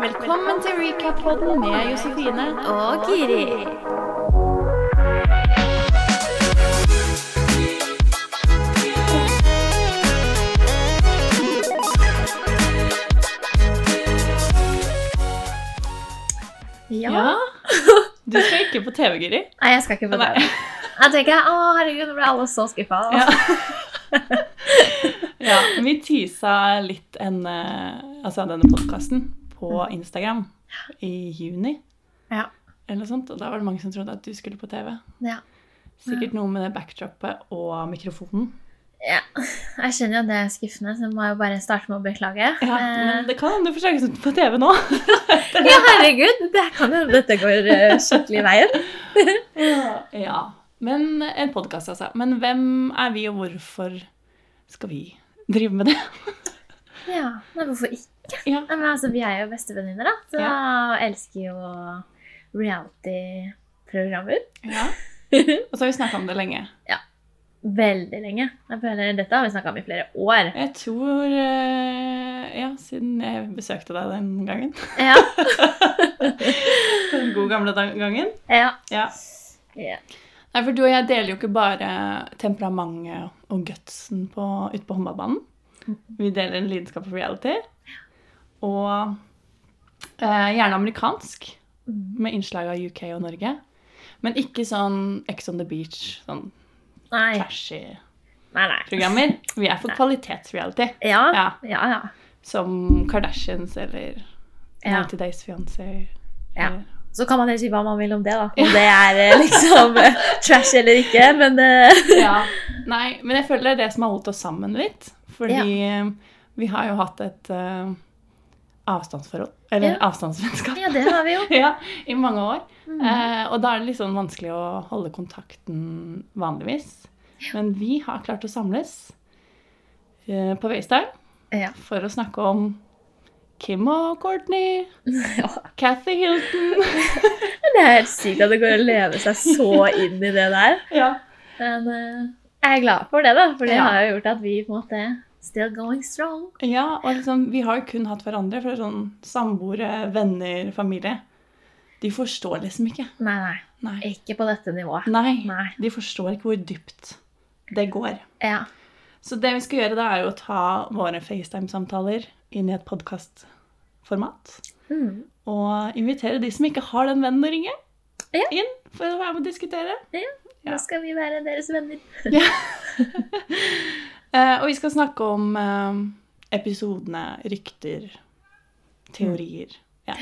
Velkommen til Recap-podden med Josefine. Og Giri. Ja. Du skal ikke på TV, Guri. Nei, jeg skal ikke på Nei. det. Jeg tenker, å herregud, nå ble alle så skuffa. Ja. Ja, vi teasa litt en, eh, altså denne podkasten på Instagram i juni. Mm. Ja. Eller noe sånt, og da var det mange som trodde at du skulle på TV. Ja. Sikkert noe med det backdropet og mikrofonen. Ja. Jeg skjønner jo at det er skuffende, så jeg må jo bare starte med å beklage. Ja, Eh, men det kan hende du får sjansen på TV nå. ja herregud, det kan jo dette går eh, skikkelig veien. Ja. Men en podkast, altså. Men hvem er vi, og hvorfor skal vi drive med det? Ja, men hvorfor ikke? Ja. Nei, men altså, vi er jo bestevenninner, da. Så jeg elsker jo reality-programmer. ja. Og så har vi snakka om det lenge. Veldig lenge. Jeg føler, dette har vi snakka om i flere år. Jeg tror eh, Ja, siden jeg besøkte deg den gangen. Ja. Den gode gamle dag- gangen. ja. Ja. Ja. Nei, for du og jeg deler jo ikke bare temperamentet og gutsen på, ute på håndballbanen. Mhm. Vi deler en lidenskap for reality. Og eh, gjerne amerikansk, Mm. med innslag av UK og Norge. Men ikke sånn Ex on the beach, sånn Nei. trashy Nei, nei. programmer. Vi er for kvalitetsreality. Ja. Ja, Ja, ja. som Kardashians eller Ja. 90 Days Fiancé. Ja. eller- Så kan man jo si hva man vil om det, da. Om det er eh, liksom eh, trash eller ikke, men eh, ja. Nei, men jeg føler det er det som har holdt oss sammen litt. Fordi eh, vi har jo hatt et eh, avstandsforhold. Ja. Eller avstandsvennskap. Ja, det har vi Mm. jo. Ja, i mange år. Eh, og da er det litt sånn vanskelig å holde kontakten vanligvis. Men vi har klart å samles eh, på FaceTime Ja. for å snakke om Kim og Courtney, ja. Cathy Hilton Men det er helt sykt at det går å leve seg så inn i det der. ja. Men eh, jeg er glad for det, da, for det Ja. har jo gjort at vi på en måte still going strong. Ja, og liksom, vi har jo kun hatt hverandre for sånn samboere, venner, familie. De forstår liksom ikke. Nei, nei. Nei. Ikke på dette nivået. Nei. Nei. De forstår ikke hvor dypt det går. Ja. Så det vi skal gjøre da, er jo å ta våre FaceTime-samtaler inn i et podkastformat. Mm. Og invitere de som ikke har den vennen å ringe, Ja. inn for å være med og diskutere. Ja. Nå skal vi være deres venner. Eh, og vi skal snakke om eh, episodene, rykter, teorier. Mm. Ja,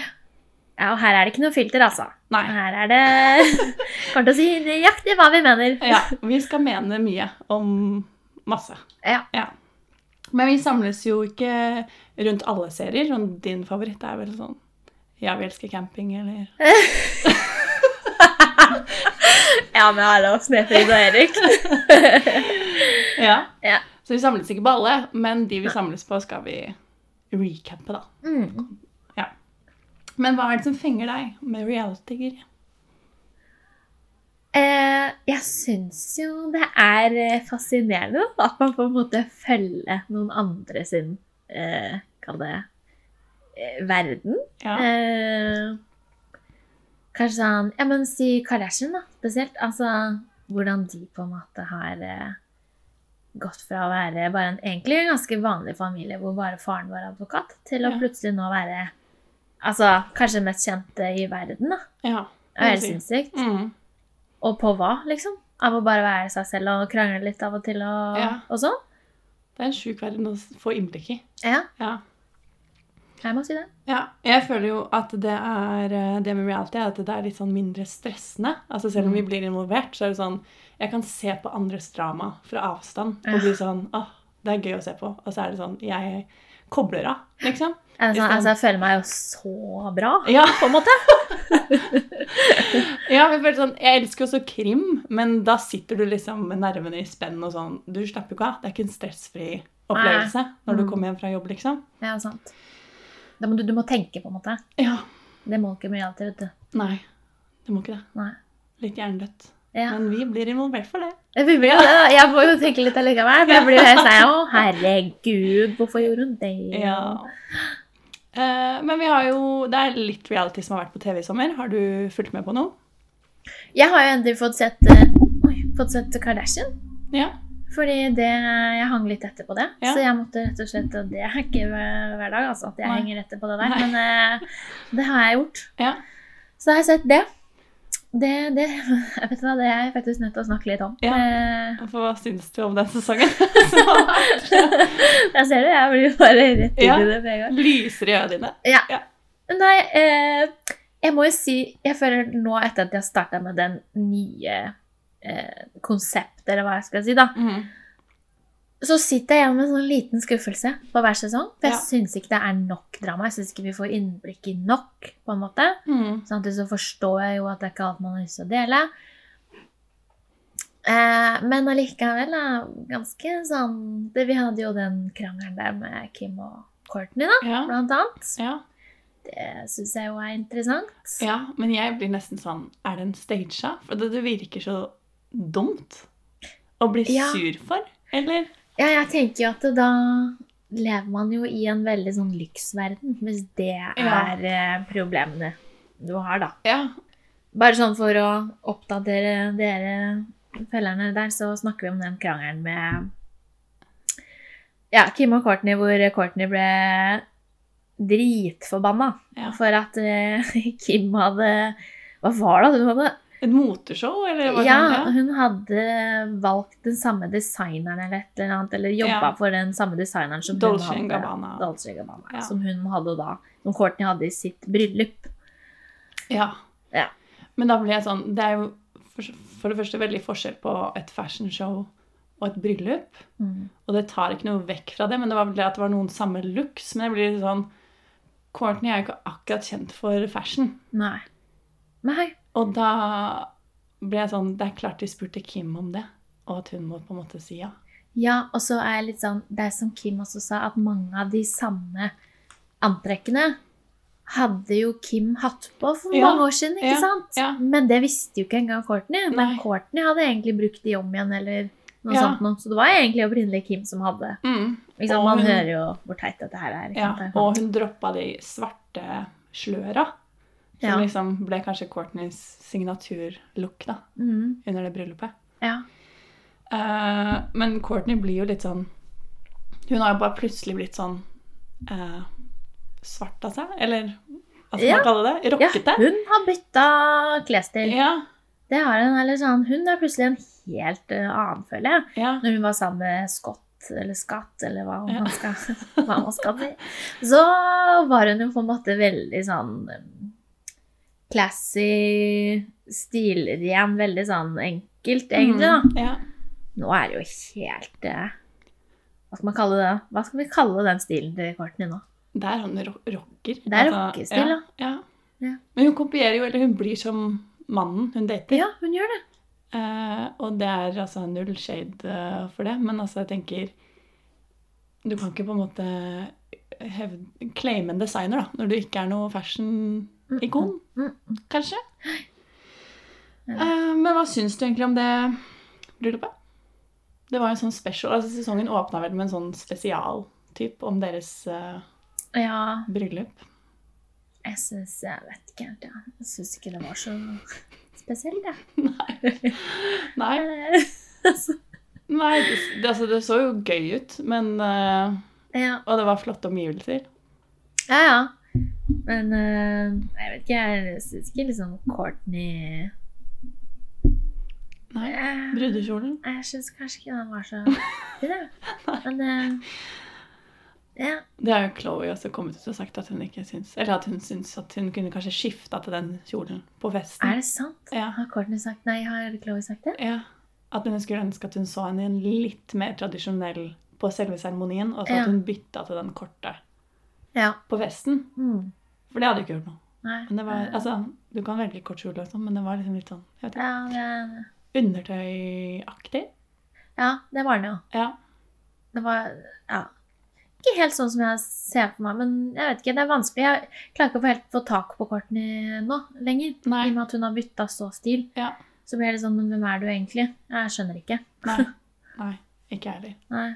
og her er det ikke noe filter, altså. Nei. Her er det Kommer til å si nøyaktig hva vi mener. Ja, vi skal mene mye om masse. Ja. Men vi samles jo ikke rundt alle serier. Sånn, din favoritt er vel sånn Ja, vi elsker camping, eller Ja, med Arlov, Snefrid og Erik. ja. Ja. Så vi samles ikke på alle, men de vi samles på, skal vi recappe, da. Mm. Men hva er det som fenger deg med reality? Giri? Eh, jeg syns jo det er eh, fascinerende da, at man på en måte følger noen andre sin eh, Kall det eh, verden. Ja. Eh, kanskje sånn Ja, men si Kardashian, da, spesielt. Altså hvordan de på en måte har eh, gått fra å være bare en egentlig en ganske vanlig familie hvor bare faren var advokat, til å Ja. plutselig nå være Altså, kanskje den mest kjente i verden, da. ja. Det er helt det vil si. sinnssykt. Mm. Og på hva, liksom? Av å bare være seg selv og krangle litt av og til og, Ja. og sånn? Det er en sjuk verden å s- få innblikk i. Ja, Ja. jeg må si det. Ja, jeg føler jo at det er eh, det med reality er at det er litt sånn mindre stressende. Altså Selv Mm. om vi blir involvert, så er det sånn Jeg kan se på andres drama fra avstand Ja. og bli sånn Åh, det er gøy å se på. Og så er det sånn Jeg kobler av, liksom. Er det I sånn, stedet- altså, jeg føler meg jo så bra, Ja, på en måte. ja jeg, føler sånn, jeg elsker også krim, men da sitter du liksom med nervene i spenn og sånn. Du slapper jo ikke av. Det er ikke en stressfri opplevelse når du Mm. kommer hjem fra jobb, liksom. Ja, sant. Da må du, du må tenke, på en måte. Ja. Det må ikke bli alltid, vet du. Nei, det må ikke det. Nei. Litt hjernedødt. Ja. Men vi blir involvert for det. Jeg blir jo det, da. Jeg må jo tenke litt allikevel, for jeg blir jo helt sånn Å, herregud, hvorfor gjorde hun det? Ja. Eh, men vi har jo Det er litt reality som har vært på TV i sommer. Har du fulgt med på noe? Jeg har jo endelig fått sett, eh, oi, fått sett Kardashian. Ja. Fordi det, jeg hang litt etter på det. Ja. Så jeg måtte rett og slett Og det er ikke hver hver dag altså, at jeg Nei. henger etter på det der. Nei. Men eh, det har jeg gjort. Ja. Så da har jeg sett det. Det, det, jeg vet hva, det er jeg faktisk nødt til å snakke litt om. Ja. Eh, For hva syns du om den sesongen? Så jeg ser det. Jeg blir bare rett inn Ja. i det med en gang. lyser i øynene dine. Nei, eh, jeg må jo si Jeg føler nå etter at jeg starta med den nye eh, konsept, eller hva jeg skal si, da, Mhm. så sitter jeg igjen med en sånn liten skuffelse på hver sesong. For jeg Ja. syns ikke det er nok drama. Jeg syns ikke vi får innblikk i nok. på en måte. Mhm. Samtidig så forstår jeg jo at det er ikke alt man har lyst til å dele. Eh, men allikevel er ganske sånn det, Vi hadde jo den krangelen der med Kim og Courtney, da, Ja. blant annet. Ja. Det syns jeg jo er interessant. ja. Men jeg blir nesten sånn Er den staged? For det, det virker så dumt å bli Ja. sur for. Eller? Ja, jeg tenker jo at da lever man jo i en veldig sånn lyksverden, hvis det Ja. er eh, problemene du har, da. Ja. Bare sånn for å oppdatere dere fellerne der, så snakker vi om den krangelen med ja, Kim og Courtney, hvor Courtney ble dritforbanna Ja. for at eh, Kim hadde Hva var det? Hun hadde Et moteshow, eller? hva ja, kan det? sånn, hun hadde valgt den samme designeren eller et eller annet, eller jobba Ja. for den samme designeren som Dolce hun hadde. Gabbana. Dolce Gabbana. Ja. Som hun hadde da, som Courtney hadde i sitt bryllup. Ja. Ja. Men da blir jeg sånn Det er jo for, for det første veldig forskjell på et fashionshow og et bryllup. Mm. Og det tar ikke noe vekk fra det, men det var vel det at det var noen samme looks. Men jeg blir litt sånn Courtney er jo ikke akkurat kjent for fashion. Nei. Nei. Og da ble jeg sånn Det er klart de spurte Kim om det, og at hun må på en måte si ja. Ja, og så er jeg litt sånn Det er som Kim også sa, at mange av de samme antrekkene hadde jo Kim hatt på for Ja, mange år siden, ikke ja, sant? ja. Men det visste jo ikke engang Courtney. Men Nei. Courtney hadde egentlig brukt de om igjen, eller noe Ja. sånt noe. Så det var egentlig opprinnelig Kim som hadde Mm. Ikke sant? Og Man hun- hører jo hvor teit dette her er. sånn. Ikke ja. sant? Og hun droppa de svarte sløra. Som Ja. liksom ble kanskje Courtneys signaturlook da, Mm, under det bryllupet. ja. Eh, men Courtney blir jo litt sånn Hun har jo bare plutselig blitt sånn eh, svart av seg, eller hva skal Ja. man kalle det? ja, Rockete? hun har bytta klesstil. Ja. Det har hun, eller sånn. Hun er plutselig en helt eh, annen, føler jeg. ja. Når hun var sammen med Scott, eller Skatt, eller hva Ja. man skal, hva man skal si, så var hun jo på en måte veldig sånn eh, classy, stilren, veldig sånn enkelt, egentlig, da. Mm, ja. Nå er det jo helt eh, Hva skal man kalle det? Hva skal vi kalle den stilen til Courtney nå? Det er sånn ro rocker. Altså, Det er rockestil, ja, ja. Ja. Men hun kopierer jo, eller hun blir som mannen hun dater. Ja, hun gjør det. Eh, og det er altså null shade eh, for det, men altså jeg tenker Du kan ikke på en måte hevde, claime en designer da, når du ikke er noe fashion-ikon, Mm, kanskje. Ja. Eh, men hva syns du egentlig om det bryllupet? Det var jo en sånn special, altså Sesongen åpna vel med en sånn spesialtyp om deres eh, mm. Ja, bryllup. jeg syns Jeg vet ikke helt, ja. Jeg syns ikke det var så spesielt, jeg. Nei, nei det, det, altså, det så jo gøy ut, men eh, ja. Og det var flotte omgivelser. ja, ja. Men eh, jeg vet ikke, jeg syns ikke liksom Courtney Nei. Eh, Brudekjolen. Jeg syns kanskje ikke den var så fin, jeg. Men eh, ja. Det har jo Chloé også kommet ut og sagt at hun ikke syns Eller at hun syns at hun kunne kanskje skifta til den kjolen på Er festen. det sant? Ja, Har Courtney sagt nei? Har Chloé sagt det? ja. At hun skulle ønske at hun så henne i en litt mer tradisjonell på selve seremonien, og så Ja. at hun bytta til den korte Ja. på festen. Mm. For det hadde ikke gjort noe. Nei. Men det var, altså, Du kan velge kort kjole, og sånn, men det var liksom litt sånn jeg vet ikke, ja, det, undertøyaktig. ja, det var den jo. Ja. Det var ja, ikke helt sånn som jeg ser på meg, men jeg vet ikke, det er vanskelig. Jeg klarer ikke å få helt få tak på kortene nå lenger. Nei. I og med at hun har bytta så stil. Ja. Så blir det sånn, men hvem er du egentlig? Jeg skjønner ikke. Nei. Nei. Ikke jeg heller. Nei.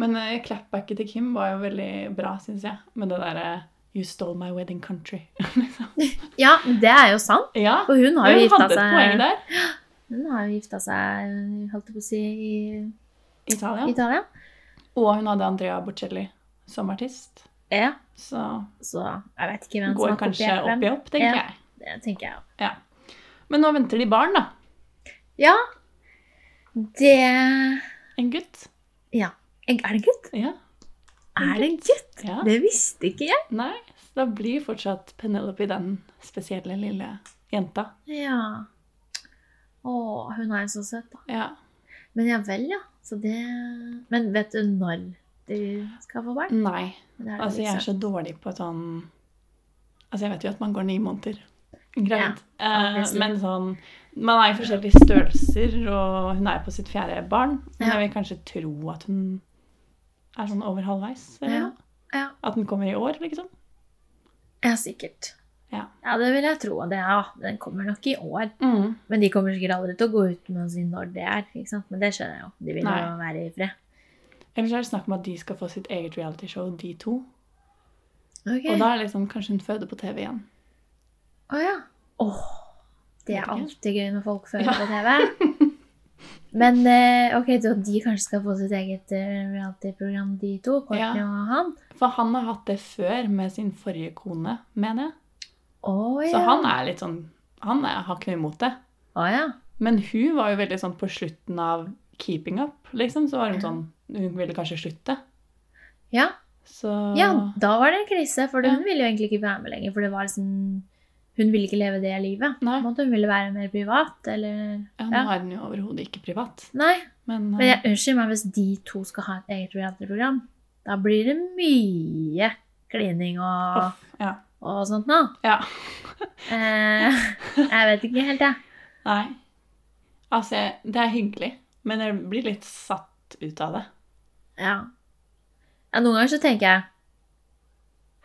Men eh, clapbacket til Kim var jo veldig bra, syns jeg. Med det derre You stole my wedding country. Ja, men det er jo sant. ja, Og hun har jo hun gifta hadde et poeng seg der. Hun har jo gifta seg, holdt jeg på å si, i Italia. Italia. Og hun hadde Andrea Bocelli som artist. Ja, Så så jeg vet ikke hvem som går har kanskje kopiert opp hvem. i opp, tenker Ja. jeg. Det tenker jeg òg. Men nå venter de barn, da. Ja. Det En gutt. Er det en gutt? Ja. En Er det en gutt? ja. Det visste ikke jeg. Nei, så da blir fortsatt Penelope den spesielle lille jenta. Ja. Å, hun er jo så søt, da. Ja. Men ja vel, ja. Så det Men vet du når du skal få barn? Nei, Det er det altså jeg er liksom. så dårlig på sånn Altså jeg vet jo at man går ni måneder gravid, eh, obviously. men sånn Man er i forskjellige størrelser, og hun er på sitt fjerde barn. Men Ja. jeg vil kanskje tro at hun er sånn over halvveis. Eller? Ja, noe. ja. At den kommer i år, liksom. Ja, sikkert. Ja. det vil jeg tro. Det, ja. Den kommer nok i år. Men de kommer sikkert aldri til å gå ut med å si når det er. ikke sant? Men det skjønner jeg jo. De vil jo Nei. være i fred. Ellers er det snakk om at de skal få sitt eget realityshow, de to. Ok. Og da er det liksom kanskje hun føder på TV igjen. Å ja. Åh, det er Vet ikke. alltid gøy når folk føler Ja. på TV. Men eh, ok, så de kanskje skal få sitt eget eh, reality-program, de to. Ja. Courtney og han. For han har hatt det før med sin forrige kone, mener jeg. Å ja. Så han er litt sånn Han er, har ikke noe imot det. Å Ah, ja. Men hun var jo veldig sånn på slutten av keeping up, liksom. Så var hun Ja. sånn Hun ville kanskje slutte. Ja. Så ja, da var det en krise. For Ja. hun ville jo egentlig ikke være med lenger. For det var liksom Hun ville ikke leve det livet. På Nei. en måte, Hun ville være mer privat, eller Ja, nå Ja. er hun jo overhodet ikke privat. Nei. Men, eh, Men jeg unnskyld meg hvis de to skal ha et eget reality-program. Da blir det mye klining eh, og uff, ja. og sånt nå. Ja. eh, jeg vet ikke helt, jeg. Nei. Altså, jeg- det er hyggelig, men jeg blir litt satt ut av det. Ja. ja. Noen ganger så tenker jeg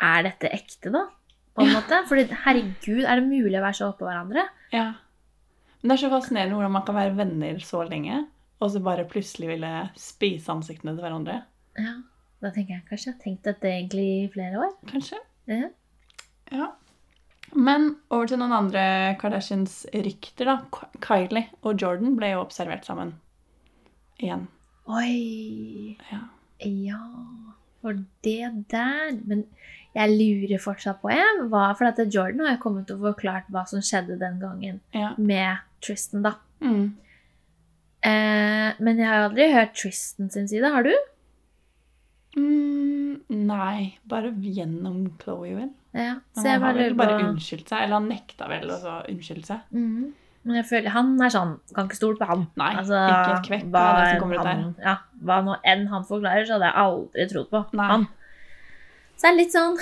Er dette ekte, da? På en måte. Fordi herregud, er det mulig å være så oppå hverandre? Ja. Men det er så fascinerende hvordan man kan være venner så lenge, og så bare plutselig ville spise ansiktene til hverandre. Ja. Da tenker jeg kanskje jeg har tenkt dette egentlig i flere år. Kanskje. Ja. Ja. Men over til noen andre Kardashians rykter, da. K- Kylie og Jordan ble jo observert sammen. Igjen. Oi. Ja. Ja. For det der Men jeg lurer fortsatt på jeg, hva, For at Jordan har jo kommet og forklart hva som skjedde den gangen Ja. med Tristan, da. Mm. Eh, men jeg har aldri hørt Tristan sin side. Har du? Mm, nei, bare gjennom Chloé, vel. Ja. Så Men jeg han har bare vel lurer bare på unnskyldt seg, eller han nekta vel å så unnskylde seg. Mhm. Men jeg føler han er sånn Kan ikke stole på han. Nei, Altså, ikke et kvekk hva av det enn som kommer ut der. han, Ja, hva nå enn han forklarer, så hadde jeg aldri trodd på Nei. han. Så det er litt sånn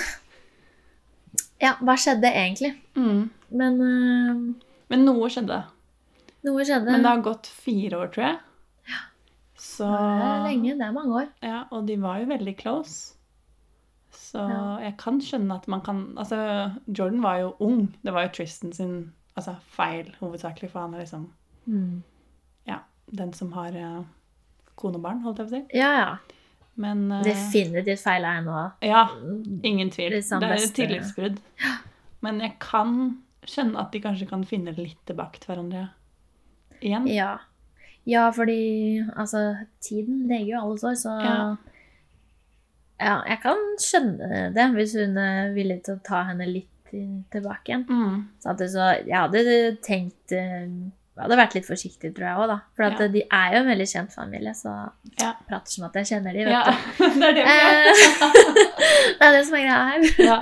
Ja, hva skjedde egentlig? Mm. Men eh, Men noe skjedde. noe skjedde. Men det har gått fire år, tror jeg. Så det er lenge. Det er mange år. Ja, og de var jo veldig close. Så Ja. jeg kan skjønne at man kan Altså, Jordan var jo ung. Det var jo Tristan sin altså, feil hovedsakelig, for han er liksom Mhm. den som har eh, kone og barn, holdt jeg på å si. Ja, ja. Men eh, Definitivt feil er jeg nå. Ja, ingen Det er tvil. Det sånn er et beste- tillitsbrudd. Men jeg kan skjønne at de kanskje kan finne litt tilbake til hverandre igjen. Ja. ja, fordi altså, tiden leger jo alle sår, så ja. Ja. jeg kan skjønne det hvis hun er villig til å ta henne litt i- tilbake igjen. Mm. Samtidig så jeg hadde tenkt eh, Jeg hadde vært litt forsiktig, tror jeg òg, da. For at Ja. de er jo en veldig kjent familie, så Ja. jeg prater som at jeg kjenner de, vet ja. du. det er det vi gjør. Eh, det er det som er greia her. Ja.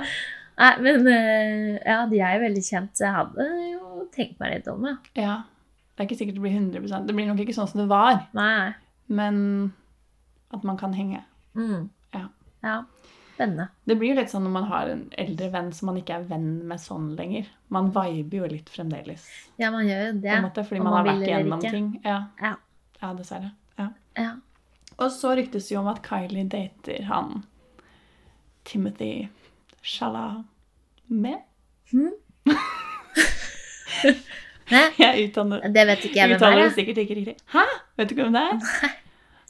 Nei, men eh, ja, de er jo veldig kjent, så jeg hadde jo tenkt meg litt om, ja. ja. Det er ikke sikkert det blir 100 Det blir nok ikke sånn som det var. Nei, nei. Men at man kan henge. Mm. Ja. ja. Spennende. Det blir jo litt sånn når man har en eldre venn som man ikke er venn med sånn lenger. Man viber jo litt fremdeles. Ja, man gjør jo På det. en måte, fordi om man man har vil vært eller igjennom ikke. ting. Ja. Ja. ja, dessverre. Ja. Ja. Og så ryktes det jo om at Kylie dater han Timothy Chalamet. Hm? Hæ? Jeg uttaler, Det vet ikke jeg hvem er. uttaler det jeg. sikkert ikke riktig. Hæ? Vet du ikke hvem det er?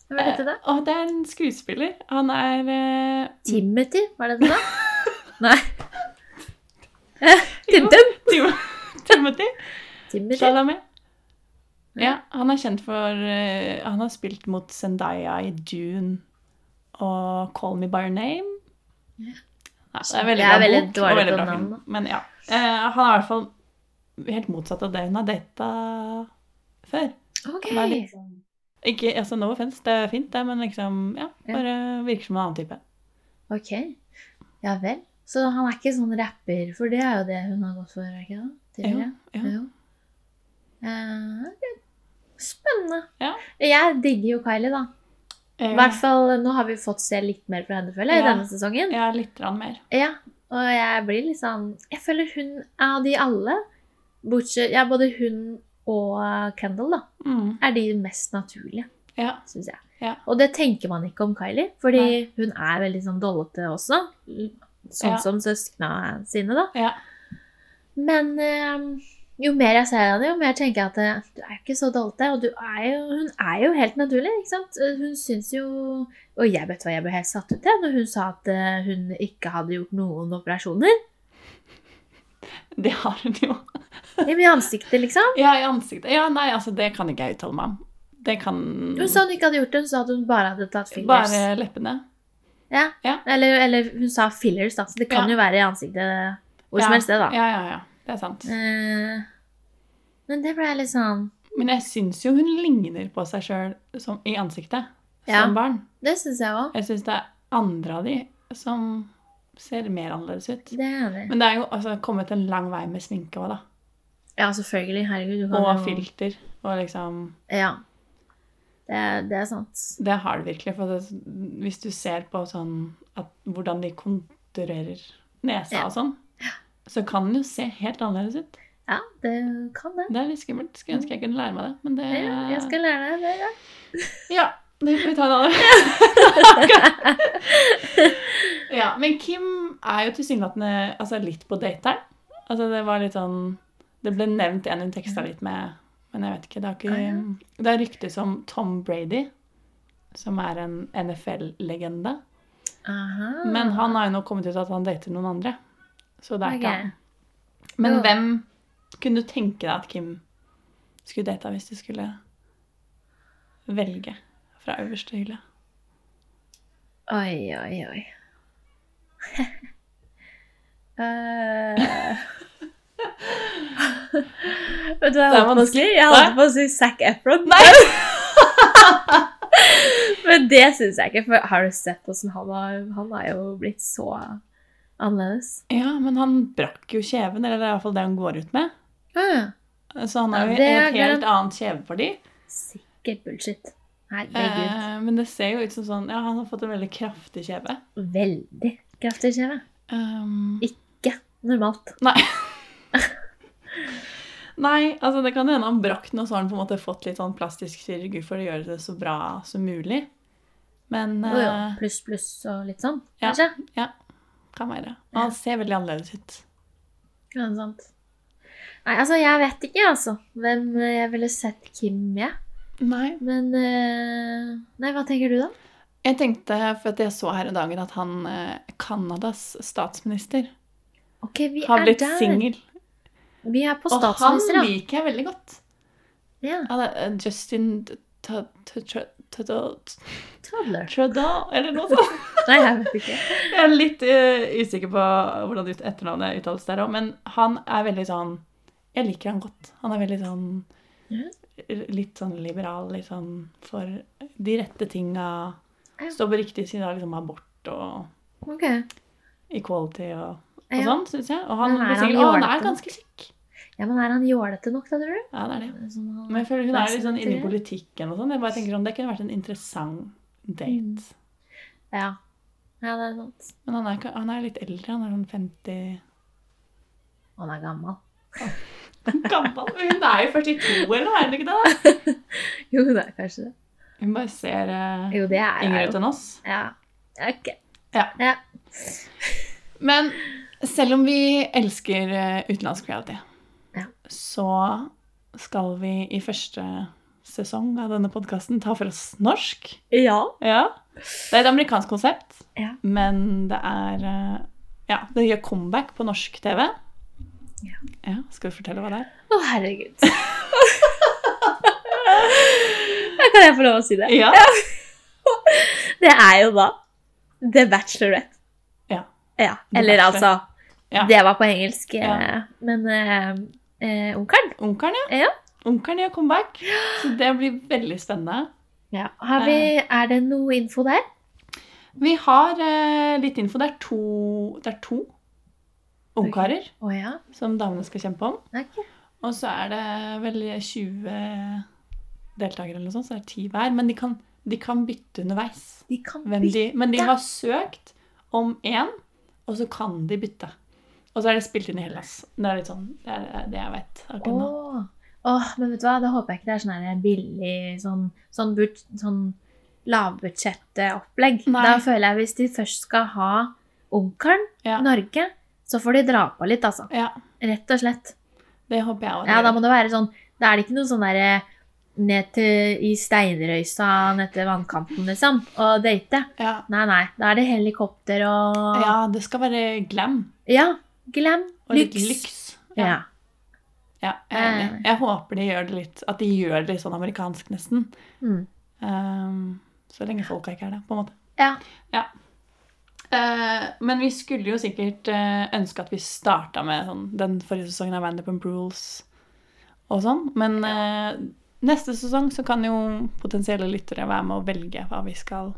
Hva heter det? Å, det er en skuespiller. Han er eh, Timothy, var det det da? Nei. Tim-Tim. Tim- Timothy Timothy. Chalamet. Ja, han er kjent for eh, Han har spilt mot Zendaya i Dune og Call Me By Your Name. Ja, det er veldig Jeg er bra veldig bok og dårlig veldig på bra film. navn, da. Men ja. Eh, han er i hvert fall helt motsatt av det hun har data før. Ok. Han er litt sånn- Ikke, altså No offense, det er fint, det, men liksom Ja, Ja. bare virker som en annen type. ok. Ja vel. Så han er ikke sånn rapper, for det er jo det hun har gått for, er ikke det? Tidligere. ja. Jo. Eh, ok. Spennende. Ja. Jeg digger jo Kylie, da. I Eh, hvert fall, Nå har vi fått se litt mer fra henne, føler jeg, i Ja. denne sesongen. Ja, litt grann mer. Ja, og jeg blir litt sånn Jeg føler hun av de alle, bortsett Ja, både hun og Kendall, da, Mm. er de mest naturlige, Ja. syns jeg. Ja. Og det tenker man ikke om Kylie, fordi hun er veldig sånn dollete også. Sånn Ja. som søsknene sine, da. Ja. Men eh, jo mer jeg ser henne, jo mer tenker jeg at eh, du er ikke så dollete. Og du er jo, hun er jo helt naturlig, ikke sant? Eh, Hun syns jo Og jeg vet hva jeg ble helt satt ut til når hun sa at eh, hun ikke hadde gjort noen operasjoner. Det har hun jo. I ansiktet, liksom. Ja, i ansiktet. Ja, nei, altså, det kan ikke jeg uttale meg om. Det kan Hun sa hun ikke hadde gjort det, hun sa at hun bare hadde tatt fillers. Bare leppene. Ja. Ja. Eller, eller hun sa fillers, da, så det kan Ja. jo være i ansiktet hvor som Ja. helst, det, da. Ja, ja, ja. Det er sant. Eh, men det ble jeg litt sånn Men jeg syns jo hun ligner på seg sjøl i ansiktet Ja. som barn. Det syns jeg òg. Jeg syns det er andre av de som ser mer annerledes ut. Det er enig. Men det er jo altså, kommet en lang vei med sminke òg, da. Ja, selvfølgelig. Herregud. Du kan Og jo- filter. Og liksom Ja. Det, det er sant. Det har det virkelig. For det, hvis du ser på sånn at, hvordan de konturerer nesa Ja. og sånn, så kan den jo se helt annerledes ut. Ja, det kan det. Det er litt skummelt. Skulle ønske jeg kunne lære meg det, men det Ja, jeg skal lære deg det. Ja. Ja, det får vi ta en annen Ja, men Kim er jo tilsynelatende altså, litt på dateren. Altså, det var litt sånn Det ble nevnt en hun teksta litt med, men jeg vet ikke. Det, har Ah, ja. ikke, det er rykter som Tom Brady, som er en NFL-legende. Aha. Men han har jo nå kommet ut at han dater noen andre. Så det er Ok. ikke han. Men Ja. hvem kunne du tenke deg at Kim skulle data hvis du skulle velge fra øverste hylle? Oi, oi, oi. Eh. Vet du hva jeg Det er holdt på å si? Jeg Nei. holdt på å si Zac Efron. Men det syns jeg ikke. For har du sett åssen han har Han har jo blitt så annerledes. Ja, men han brakk jo kjeven, eller det er i hvert fall det han går ut med. Så han har Ja, jo det er et helt annet kjeveparti. Sikkert bullshit. Herregud. Eh, men det ser jo ut som sånn Ja, han har fått en veldig kraftig kjeve. Veldig kraftig kjeve. Ehm, Um, Ikke normalt. Nei. Nei, altså det kan hende han brakk den, og så har han på en måte fått litt sånn plastisk kirurgi for å gjøre det så bra som mulig. Men eh, Jo, det jo. Pluss, pluss og litt sånn, Ja. kanskje. kan være. Og han ser veldig annerledes ut. Ja, det er sant. Nei, altså, jeg vet ikke, altså, hvem eh, jeg ville sett Kim med. Nei. Men eh, Nei, hva tenker du, da? Jeg tenkte, for at jeg så her i dagen at han eh, Canadas statsminister Ok, vi har er blitt der. singel. Vi er på Og han statsminister, ja. liker jeg veldig godt. ja. Ja, det er eh, Justin T- T- T- Tr- Trudeau Toddler. Trudeau, eller noe sånt. Nei, jeg vet ikke. Jeg er litt eh, usikker på hvordan ut- etternavnet uttales der òg, men han er veldig sånn Jeg liker han godt. Han er veldig sånn Mhm. Litt sånn liberal, litt sånn for de rette tinga. Ja. Står på riktig side av liksom abort og Ok. equality og, og Ja. sånn, syns jeg. Og han Men er blir han sikkert Å, han jålete er nok? ganske kjekk. Ja, men er han jålete nok, da, tror du? Ja, det er det. Sånn, han- Men jeg føler hun er litt sånn Fascinerende. inne i politikken og sånn. Jeg bare tenker sånn, Det kunne vært en interessant Mm. date. Ja. ja, det er sant. Men han er, ikke- han er litt eldre. Han er sånn 50 Han er gammel. Gammel. Men Hun er jo 42, eller noe, er hun ikke det? da? Jo, det er kanskje det. Hun bare ser eh, Jo, det er yngre jeg ut jo. enn oss. Ja. Ok. Ja. ja. Men selv om vi elsker eh, utenlandsk reality, Ja. så skal vi i første sesong av denne podkasten ta for oss norsk. Ja. Ja. Det er et amerikansk konsept, Ja. men det er eh, Ja, det gjør comeback på norsk TV. Ja. Ja, Skal du fortelle hva det er? Å, herregud. Da kan jeg få lov å si det. Ja. Det er jo da The Bachelorette. Ja. ja. The Eller Bachelor. altså Ja. Det var på engelsk, eh, Ja. men eh, eh, onkelen Onkelen, ja. Ja. Onkelen gjør comeback. Så det blir veldig spennende. Har vi, Eh. Er det noe info der? Vi har eh, litt info. Det er to, det er to ungkarer Å ja. som damene skal kjempe om. Nei, ikke. Og så er det vel 20 deltakere eller noe sånt, så det er 10 hver. Men de kan, de kan bytte underveis. De kan Hvem de, men de har søkt om én, og så kan de bytte. Og så er det spilt inn i Hellas. Det er litt sånn, det er det jeg vet akkurat nå. Åh. Åh, men vet du hva? Da håper jeg ikke det er sånn her billig, sånn, sånn, but, sånn lavbudsjettopplegg. Nei. Da føler jeg hvis de først skal ha onkelen, Ja. Norge, så får de dra på litt, altså. Ja, Rett og slett. det håper jeg også. Ja, da må det være sånn Da er det ikke noe sånn derre ned til i steinrøysa ned til vannkanten, liksom, og date. ja. Nei, nei. Da er det helikopter og ja, det skal være glam. Ja, glam. Og litt lyks. lyks. Ja. Ja, jeg, er enig. jeg håper de gjør det litt At de gjør det litt sånn amerikansk, nesten. Mm. Ehm, så lenge folka ikke er det, på en måte. Ja. Eh, men vi skulle jo sikkert eh, ønske at vi starta med sånn, den forrige sesongen av Vanderpump Rules og sånn. Men eh, neste sesong så kan jo potensielle lyttere være med og velge hva vi skal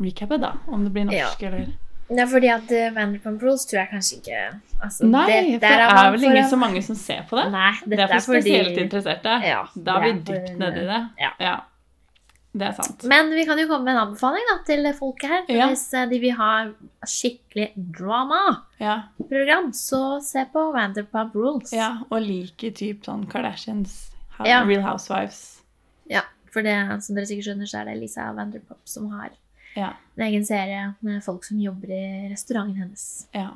recappe, da. Om det blir norsk eller Det er fordi at eh, Vanderpump Rules tror jeg kanskje ikke altså, Nei, dette man for det er vel for ikke å- så mange som ser på det. Nei, dette det er for spesielt fordi... interesserte. Ja, da er vi det er for- dypt nedi det. ja. Det er sant. Men vi kan jo komme med en anbefaling da, til folket her. Ja. Hvis eh, de vil ha skikkelig drama-program, Ja, så se på Vanderpump Rules. ja. Og liker typ sånn Kardashians, Ja. Real Housewives. Ja, for det, som dere sikkert skjønner, så er det Lisa Vanderpump som har Ja. en egen serie med folk som jobber i restauranten hennes. Ja.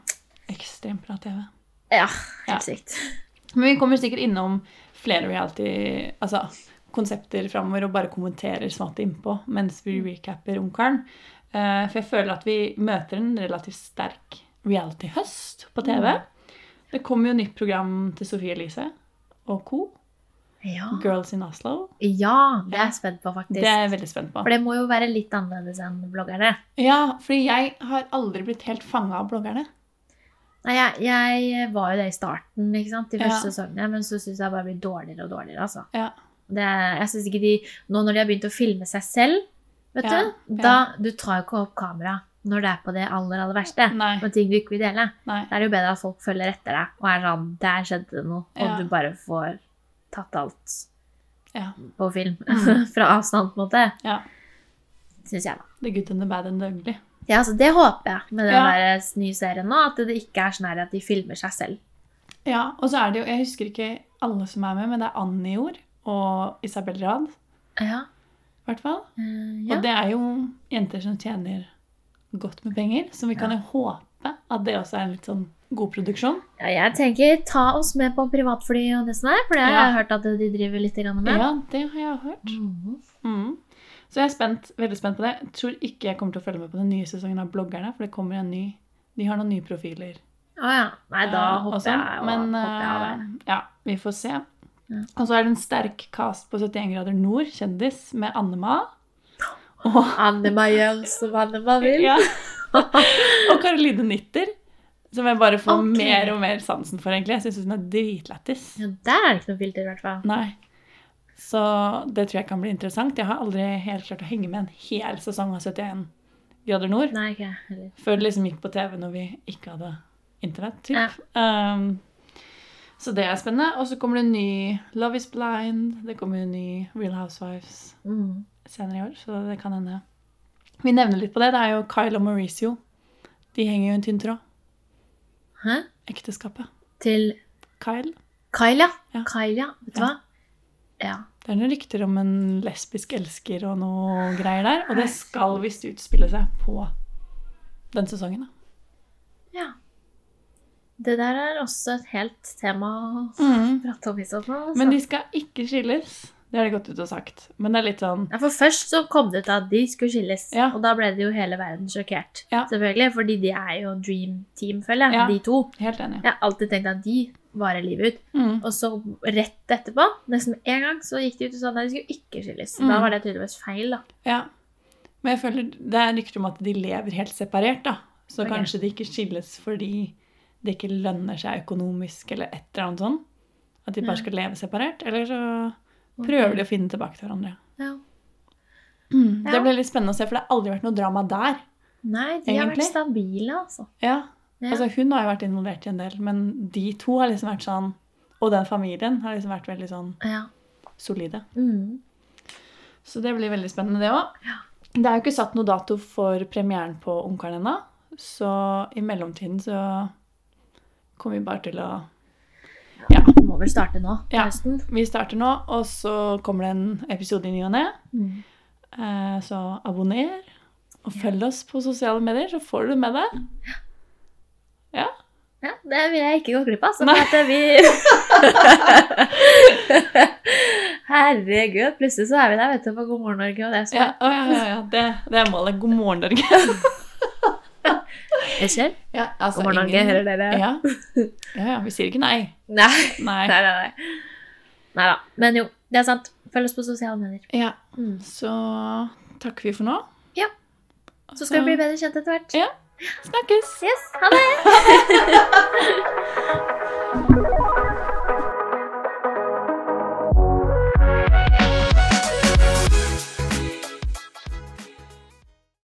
Ekstremt bra TV. Ja, Ja. helt sykt. Men vi kommer sikkert innom flere reality altså, konsepter framover og bare kommenterer smått innpå mens vi recapper Ungkaren. Eh, for jeg føler at vi møter en relativt sterk reality-høst på TV. Det kommer jo nytt program til Sofie Elise og co. Ja. Girls in Oslo. ja, det er jeg spent på, faktisk. Det er jeg veldig spent på. For det må jo være litt annerledes enn bloggerne. Ja, fordi jeg har aldri blitt helt fanga av bloggerne. Nei, jeg, jeg var jo det i starten, ikke sant, de første Ja. sesongene, men så syns jeg bare det blir dårligere og dårligere, altså. Ja. Det, jeg synes ikke de, Nå når de har begynt å filme seg selv, vet Ja, du, ja. da Du tar jo ikke opp kamera når det er på det aller, aller verste. Nei. På ting du ikke vil dele. Nei. Da er det jo bedre at folk følger etter deg og er sånn Der skjedde det noe. Og Ja. du bare får tatt alt Ja. på film. Mm. Fra avstand, på en måte. Ja. Syns jeg, da. The good and the bad and the ugly. Ja, altså Det håper jeg med den Ja. der eh, nye serien nå. At det ikke er sånn her at de filmer seg selv. Ja, og så er det jo Jeg husker ikke alle som er med, men det er Annie Jord og Isabel Rad. Ja. I hvert fall. Eh, ja. Og det er jo jenter som tjener godt med penger, så vi kan jo håpe at det også er en litt sånn god produksjon. ja, jeg tenker ta oss med på privatfly og det sånn her, for det har Ja. jeg hørt at de driver litt grann med. Ja, det har jeg hørt. Mhm. Mm. Så jeg er spent, veldig spent på det. Jeg tror ikke jeg kommer til å følge med på den nye sesongen av bloggerne, for det kommer en ny De har noen nye profiler. Å ja. Nei, da eh, hopper og sånn. jeg, og, Men hopper jeg av der. eh, ja, vi får se. Og så er det en sterk cast på 71 grader nord, kjendis, med Annema. Og Annema gjør som Annema vil. Ja. og Caroline Nitter, som jeg bare får Ok. mer og mer sansen for, egentlig. Jeg syns hun er dritlættis. Ja, der er det ikke noe filter, i hvert fall. Nei. Så det tror jeg kan bli interessant. Jeg har aldri helt klart å henge med en hel sesong av 71 grader nord. Nei, ikke jeg heller. Før det liksom gikk på TV når vi ikke hadde internett, typ. Ja. Um, så det er spennende. Og så kommer det en ny Love Is Blind. Det kommer en ny Real Housewives Mm. senere i år, så det kan hende. Vi nevner litt på det. Det er jo Kyle og Mauricio. De henger jo i en tynn tråd. Hæ? Ekteskapet. Til Kyle. Kyle, ja. Ja. Kyle, ja. Vet du Ja. hva? Ja. Det er noen rykter om en lesbisk elsker og noe greier der. Og det skal visst utspille seg på den sesongen, da. ja. Det der Mm. er også et helt tema å prate om i så fall. altså. Men de skal ikke skilles. Det har de gått ut og sagt. Men det er litt sånn Ja, for først så kom det ut at de skulle skilles, Ja. og da ble det jo hele verden sjokkert. Ja. Selvfølgelig, fordi de er jo dream team, føler jeg, Ja. de to. Helt enig. Jeg har alltid tenkt at de varer livet ut. Mm. Og så rett etterpå, nesten én gang, så gikk de ut og sa at de skulle ikke skilles. Da Mm. var det tydeligvis feil, da. Ja. Men jeg føler det er rykter om at de lever helt separert, da. Så Ok. kanskje de ikke skilles fordi det ikke lønner seg økonomisk eller et eller annet sånn. At de bare Ja. skal leve separert. Eller så prøver de å finne tilbake til hverandre. Ja. Det Ja. blir litt spennende å se, for det har aldri vært noe drama der. Nei, de har Egentlig? vært stabile, altså. Ja. Ja. Altså, hun har jo vært involvert i en del, men de to har liksom vært sånn Og den familien har liksom vært veldig sånn ja. solide. Mm. Så det blir veldig spennende, det òg. Ja. Det er jo ikke satt noe dato for premieren på Ungkaren ennå, så i mellomtiden så kommer vi bare til å Må vel starte nå, til Ja. høsten. Vi starter nå, og så kommer det en episode i ny og ne. Mm. Eh, Så abonner, og følg oss på sosiale medier, så får du det med deg. Ja, det vil jeg ikke gå glipp av. Så Nei. at vi Herregud, plutselig så er vi der vet du, på God morgen Norge. Og det er så Ja, å, ja, ja, ja. Det, det er målet. God morgen, Norge. Jeg ser. Ja, altså, God morgen Norge, ingen- hører dere? Ja. ja, ja. Vi sier ikke nei. Nei. Nei. Nei, nei, nei. Neida. Men jo, det er sant. Følg oss på sosiale medier. Ja, Mm. så takker vi for nå. Ja. Så skal vi bli bedre kjent etter hvert. Ja. Snakkes! Yes, ha det!